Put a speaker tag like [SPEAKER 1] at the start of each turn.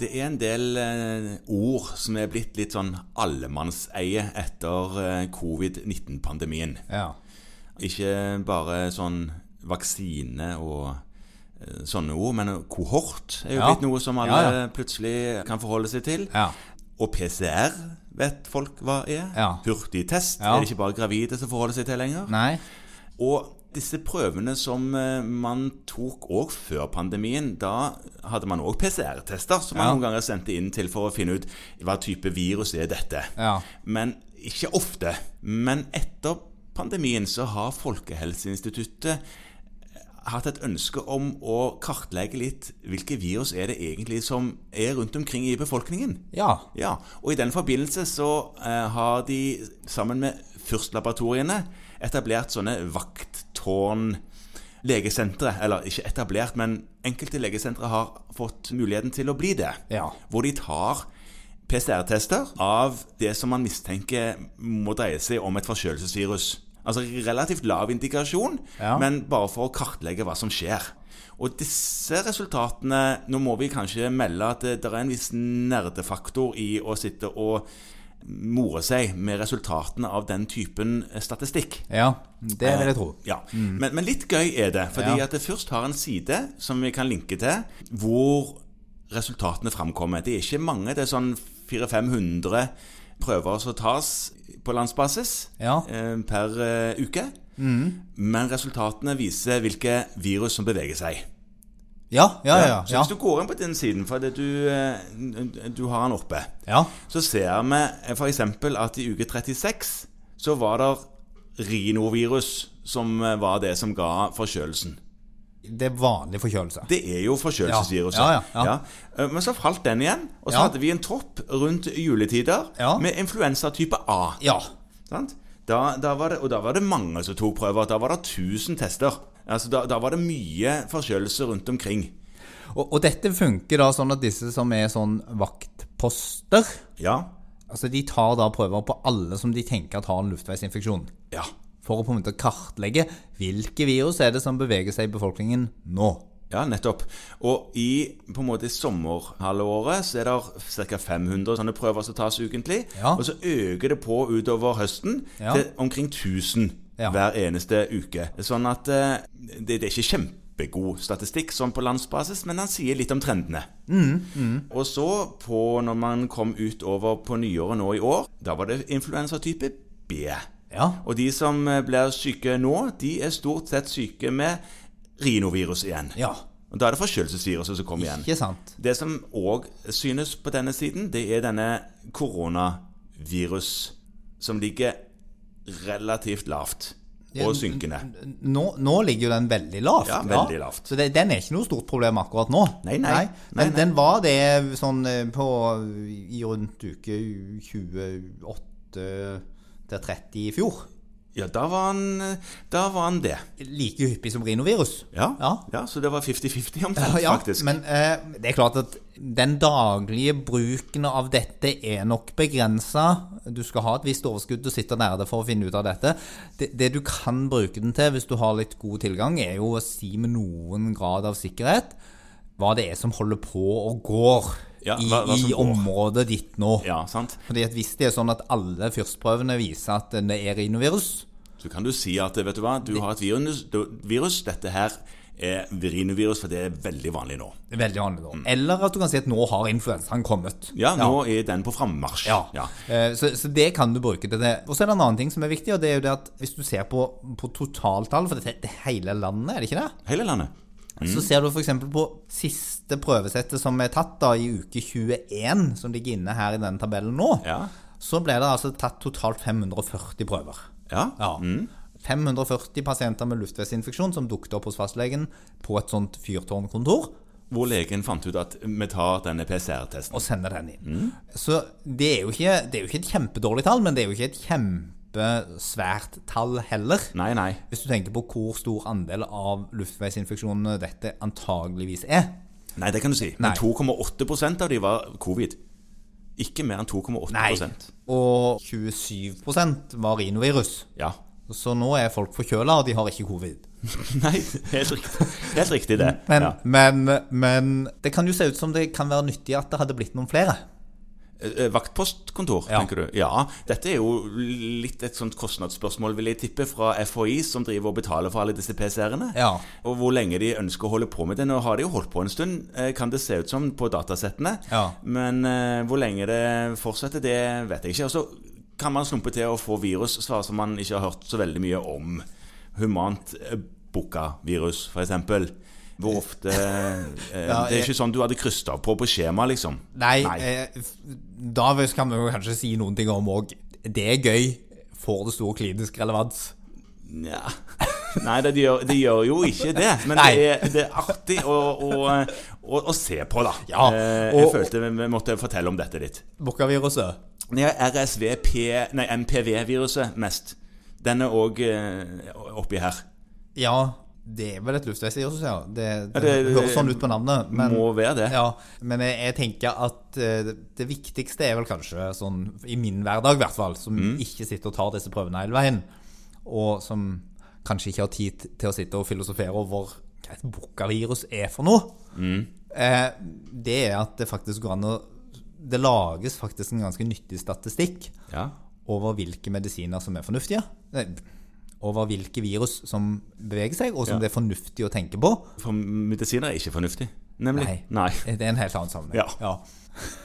[SPEAKER 1] Det er en del eh, ord som er blitt litt sånn allemannseie etter eh, covid-19-pandemien.
[SPEAKER 2] Ja.
[SPEAKER 1] Ikke bare sånn vaksine og eh, sånne ord, men kohort er jo
[SPEAKER 2] Ja.
[SPEAKER 1] blitt noe som alle
[SPEAKER 2] Ja, ja.
[SPEAKER 1] plutselig kan forholde seg til.
[SPEAKER 2] ja.
[SPEAKER 1] Og PCR vet folk hva er.
[SPEAKER 2] Ja.
[SPEAKER 1] Hurtigtest
[SPEAKER 2] Ja.
[SPEAKER 1] er det ikke bare gravide som forholder seg til lenger.
[SPEAKER 2] Nei.
[SPEAKER 1] Og disse prøvene som eh, man tok òg før pandemien, da hadde man òg PCR-tester som man
[SPEAKER 2] Ja.
[SPEAKER 1] noen ganger sendte inn til for å finne ut hva type virus er dette.
[SPEAKER 2] Ja.
[SPEAKER 1] Men ikke ofte. Men etter pandemien så har Folkehelseinstituttet eh, hatt et ønske om å kartlegge litt hvilke virus er det egentlig som er rundt omkring i befolkningen.
[SPEAKER 2] Ja.
[SPEAKER 1] Ja, og i den forbindelse så eh, har de sammen med Fürst-laboratoriene etablert sånne vakttårn legesentre, eller ikke etablert, men enkelte legesentre har fått muligheten til å bli det.
[SPEAKER 2] Ja.
[SPEAKER 1] Hvor de tar PCR-tester av det som man mistenker må dreie seg om et forkjølelsesvirus. Altså relativt lav indikasjon,
[SPEAKER 2] Ja.
[SPEAKER 1] men bare for å kartlegge hva som skjer. Og disse resultatene Nå må vi kanskje melde at eh, det, det er en viss nerdefaktor i å sitte og more seg med resultatene av den typen eh, statistikk.
[SPEAKER 2] ja. Det vil jeg tro.
[SPEAKER 1] Ja. Men, men litt gøy er det, fordi
[SPEAKER 2] Mm. Ja.
[SPEAKER 1] at det først har en side som vi kan linke til, hvor resultatene framkommer. Det er ikke mange, det er sånn 400-500 prøver som tas på landsbasis
[SPEAKER 2] Ja. Mm.
[SPEAKER 1] eh, per eh, uke. Men resultatene viser hvilke virus som beveger seg.
[SPEAKER 2] Ja, ja, ja.
[SPEAKER 1] Så
[SPEAKER 2] Ja.
[SPEAKER 1] hvis du går inn på den siden, for det du, eh, du har den oppe,
[SPEAKER 2] ja.
[SPEAKER 1] så ser vi f.eks. at i uke 36 så var det rinovirus som eh, var det som ga forkjølelsen.
[SPEAKER 2] Det er vanlig forkjølelse.
[SPEAKER 1] Det er jo forkjølelsesviruset.
[SPEAKER 2] Ja, ja, ja.
[SPEAKER 1] Ja. Eh, Men så falt den igjen, og så
[SPEAKER 2] Ja.
[SPEAKER 1] hadde vi en topp rundt juletider
[SPEAKER 2] Ja.
[SPEAKER 1] med influensa type A.
[SPEAKER 2] Ja.
[SPEAKER 1] Sant? Da, da var det, og da var det mange som tok prøver. Da var det 1000 tester. Altså, da, da var det mye forkjølelse rundt omkring.
[SPEAKER 2] Og, og dette funker da sånn at disse som er sånn vaktposter
[SPEAKER 1] Ja.
[SPEAKER 2] Altså De tar da prøver på alle som de tenker at har en luftveisinfeksjon.
[SPEAKER 1] Ja.
[SPEAKER 2] For å på en måte kartlegge hvilke virus er det som beveger seg i befolkningen nå.
[SPEAKER 1] Ja, nettopp. Og i på en måte sommerhalvåret så er det ca. 500 sånne prøver som tas ukentlig.
[SPEAKER 2] Ja.
[SPEAKER 1] Og så øker det på utover høsten
[SPEAKER 2] Ja.
[SPEAKER 1] til omkring 1000
[SPEAKER 2] Ja.
[SPEAKER 1] hver eneste uke. Sånn at eh, det, det er ikke kjempegod statistikk sånn på landsbasis, men han sier litt om trendene.
[SPEAKER 2] Mm,
[SPEAKER 1] Og så, på, når man kom utover på nyåret nå i år, da var det influensatype B.
[SPEAKER 2] Ja.
[SPEAKER 1] Og de som eh, blir syke nå, de er stort sett syke med rinovirus igjen.
[SPEAKER 2] Ja.
[SPEAKER 1] Og Da er det forkjølelsesviruset som kommer igjen.
[SPEAKER 2] Ikke sant?
[SPEAKER 1] Det som òg synes på denne siden, det er denne koronavirus som ligger relativt lavt og synkende.
[SPEAKER 2] Nå, nå ligger jo den veldig lavt.
[SPEAKER 1] Ja, veldig lavt.
[SPEAKER 2] Så det, den er ikke noe stort problem akkurat nå.
[SPEAKER 1] Nei, nei. Nei,
[SPEAKER 2] Men
[SPEAKER 1] nei.
[SPEAKER 2] den var det sånn eh, på i rundt uke 28 til 30 i fjor.
[SPEAKER 1] Ja, da var han, da var han det.
[SPEAKER 2] Like hyppig som rinovirus.
[SPEAKER 1] Ja,
[SPEAKER 2] Ja.
[SPEAKER 1] ja så det var 50-50
[SPEAKER 2] Ja,
[SPEAKER 1] omtrent,
[SPEAKER 2] ja,
[SPEAKER 1] faktisk.
[SPEAKER 2] men eh, det er klart at den daglige bruken av dette er nok begrensa. Du skal ha et visst overskudd og sitte nær det for å finne ut av dette. Det, det du kan bruke den til, hvis du har litt god tilgang, er jo å si med noen grad av sikkerhet hva det er som holder på og går
[SPEAKER 1] Ja,
[SPEAKER 2] i,
[SPEAKER 1] hva- hva som
[SPEAKER 2] i
[SPEAKER 1] går.
[SPEAKER 2] området ditt nå.
[SPEAKER 1] Ja, sant?
[SPEAKER 2] Fordi at Hvis det er sånn at alle fyrstprøvene viser at det er rinovirus
[SPEAKER 1] Så kan du si at vet du hva, du har et virus, du- virus dette her er rinovirus, for det er veldig vanlig nå.
[SPEAKER 2] det er Veldig vanlig da.
[SPEAKER 1] Mm.
[SPEAKER 2] Eller at du kan si at nå har influensaen kommet.
[SPEAKER 1] Ja, nå er den på frammarsj.
[SPEAKER 2] Ja. Eh, Så, så det kan du bruke til det. Og så er det en annen ting som er viktig, og det er jo det at hvis du ser på, på totaltall for dette det er hele landet, er det ikke det?
[SPEAKER 1] Hele landet.
[SPEAKER 2] Så ser du f.eks. på siste prøvesettet som er tatt da i uke 21, som ligger inne her i denne tabellen nå,
[SPEAKER 1] Ja.
[SPEAKER 2] så ble det altså tatt totalt 540 prøver.
[SPEAKER 1] Ja.
[SPEAKER 2] Ja. 540 pasienter med luftveisinfeksjon som dukket opp hos fastlegen på et sånt fyrtårnkontor.
[SPEAKER 1] Hvor legen fant ut at vi tar denne PCR-testen.
[SPEAKER 2] og sender den inn.
[SPEAKER 1] Mm.
[SPEAKER 2] Så det er, jo ikke, det er jo ikke et kjempedårlig tall, men det er jo ikke et kjempesvært tall heller.
[SPEAKER 1] Nei, nei.
[SPEAKER 2] Hvis du tenker på hvor stor andel av luftveisinfeksjonene dette antageligvis er.
[SPEAKER 1] Nei, det kan du si.
[SPEAKER 2] Nei.
[SPEAKER 1] Men 2,8 av de var covid. Ikke mer enn 2,8
[SPEAKER 2] Og 27 var rinovirus.
[SPEAKER 1] Ja.
[SPEAKER 2] Så nå er folk forkjøla, og de har ikke covid.
[SPEAKER 1] Nei, helt riktig. Helt riktig det.
[SPEAKER 2] Men,
[SPEAKER 1] ja.
[SPEAKER 2] men, men det kan jo se ut som det kan være nyttig at det hadde blitt noen flere.
[SPEAKER 1] Eh, Vaktpostkontor,
[SPEAKER 2] Ja.
[SPEAKER 1] tenker du? Ja. Dette er jo litt et sånt kostnadsspørsmål, vil jeg tippe, fra FHI, som driver og betaler for alle disse PC-ene.
[SPEAKER 2] Ja.
[SPEAKER 1] Og hvor lenge de ønsker å holde på med det. Nå har de jo holdt på en stund, eh, kan det se ut som, på datasettene.
[SPEAKER 2] Ja.
[SPEAKER 1] Men eh, hvor lenge det fortsetter, det vet jeg ikke. Og så kan man slumpe til å få virus svar som man ikke har hørt så veldig mye om. Humant eh, Bucca-virus, f.eks. Hvor ofte eh,
[SPEAKER 2] Ja,
[SPEAKER 1] Det er
[SPEAKER 2] jeg-
[SPEAKER 1] ikke sånn du hadde krysset av på på skjema, liksom.
[SPEAKER 2] Nei,
[SPEAKER 1] Nei.
[SPEAKER 2] eh, f- da vel kan vi jo kanskje si noen ting om òg. Det er gøy. Får det stor klinisk relevans?
[SPEAKER 1] Nja Nei, det de gjør, de gjør jo ikke det. Men det
[SPEAKER 2] Nei.
[SPEAKER 1] er, det er artig å, å, å, å se på, da.
[SPEAKER 2] Ja,
[SPEAKER 1] Eh,
[SPEAKER 2] og-
[SPEAKER 1] jeg følte vi- vi måtte fortelle om dette litt.
[SPEAKER 2] Bukkaviruset?
[SPEAKER 1] Ja, RSVP Nei, MPV-viruset mest. Den er òg oppi her.
[SPEAKER 2] Ja, det er vel et luftveisvirus, ja. Det, det,
[SPEAKER 1] det- det-
[SPEAKER 2] høres sånn ut på navnet. Men,
[SPEAKER 1] Må være det.
[SPEAKER 2] ja, men jeg, jeg tenker at eh, det viktigste er vel kanskje sånn i min hverdag, i hvert fall, som
[SPEAKER 1] Mm.
[SPEAKER 2] ikke sitter og tar disse prøvene hele veien, og som kanskje ikke har tid til å sitte og filosofere over hva et bukkavirus er for noe,
[SPEAKER 1] Mm.
[SPEAKER 2] eh, det er at det faktisk går an å Det lages faktisk en ganske nyttig statistikk
[SPEAKER 1] Ja.
[SPEAKER 2] over hvilke medisiner som er fornuftige. Nei, over hvilke virus som beveger seg, og som
[SPEAKER 1] Ja.
[SPEAKER 2] det er fornuftig å tenke på.
[SPEAKER 1] For medisiner er ikke fornuftig. Nemlig.
[SPEAKER 2] Nei. Det er en helt annen sammenheng.
[SPEAKER 1] Ja.
[SPEAKER 2] Ja.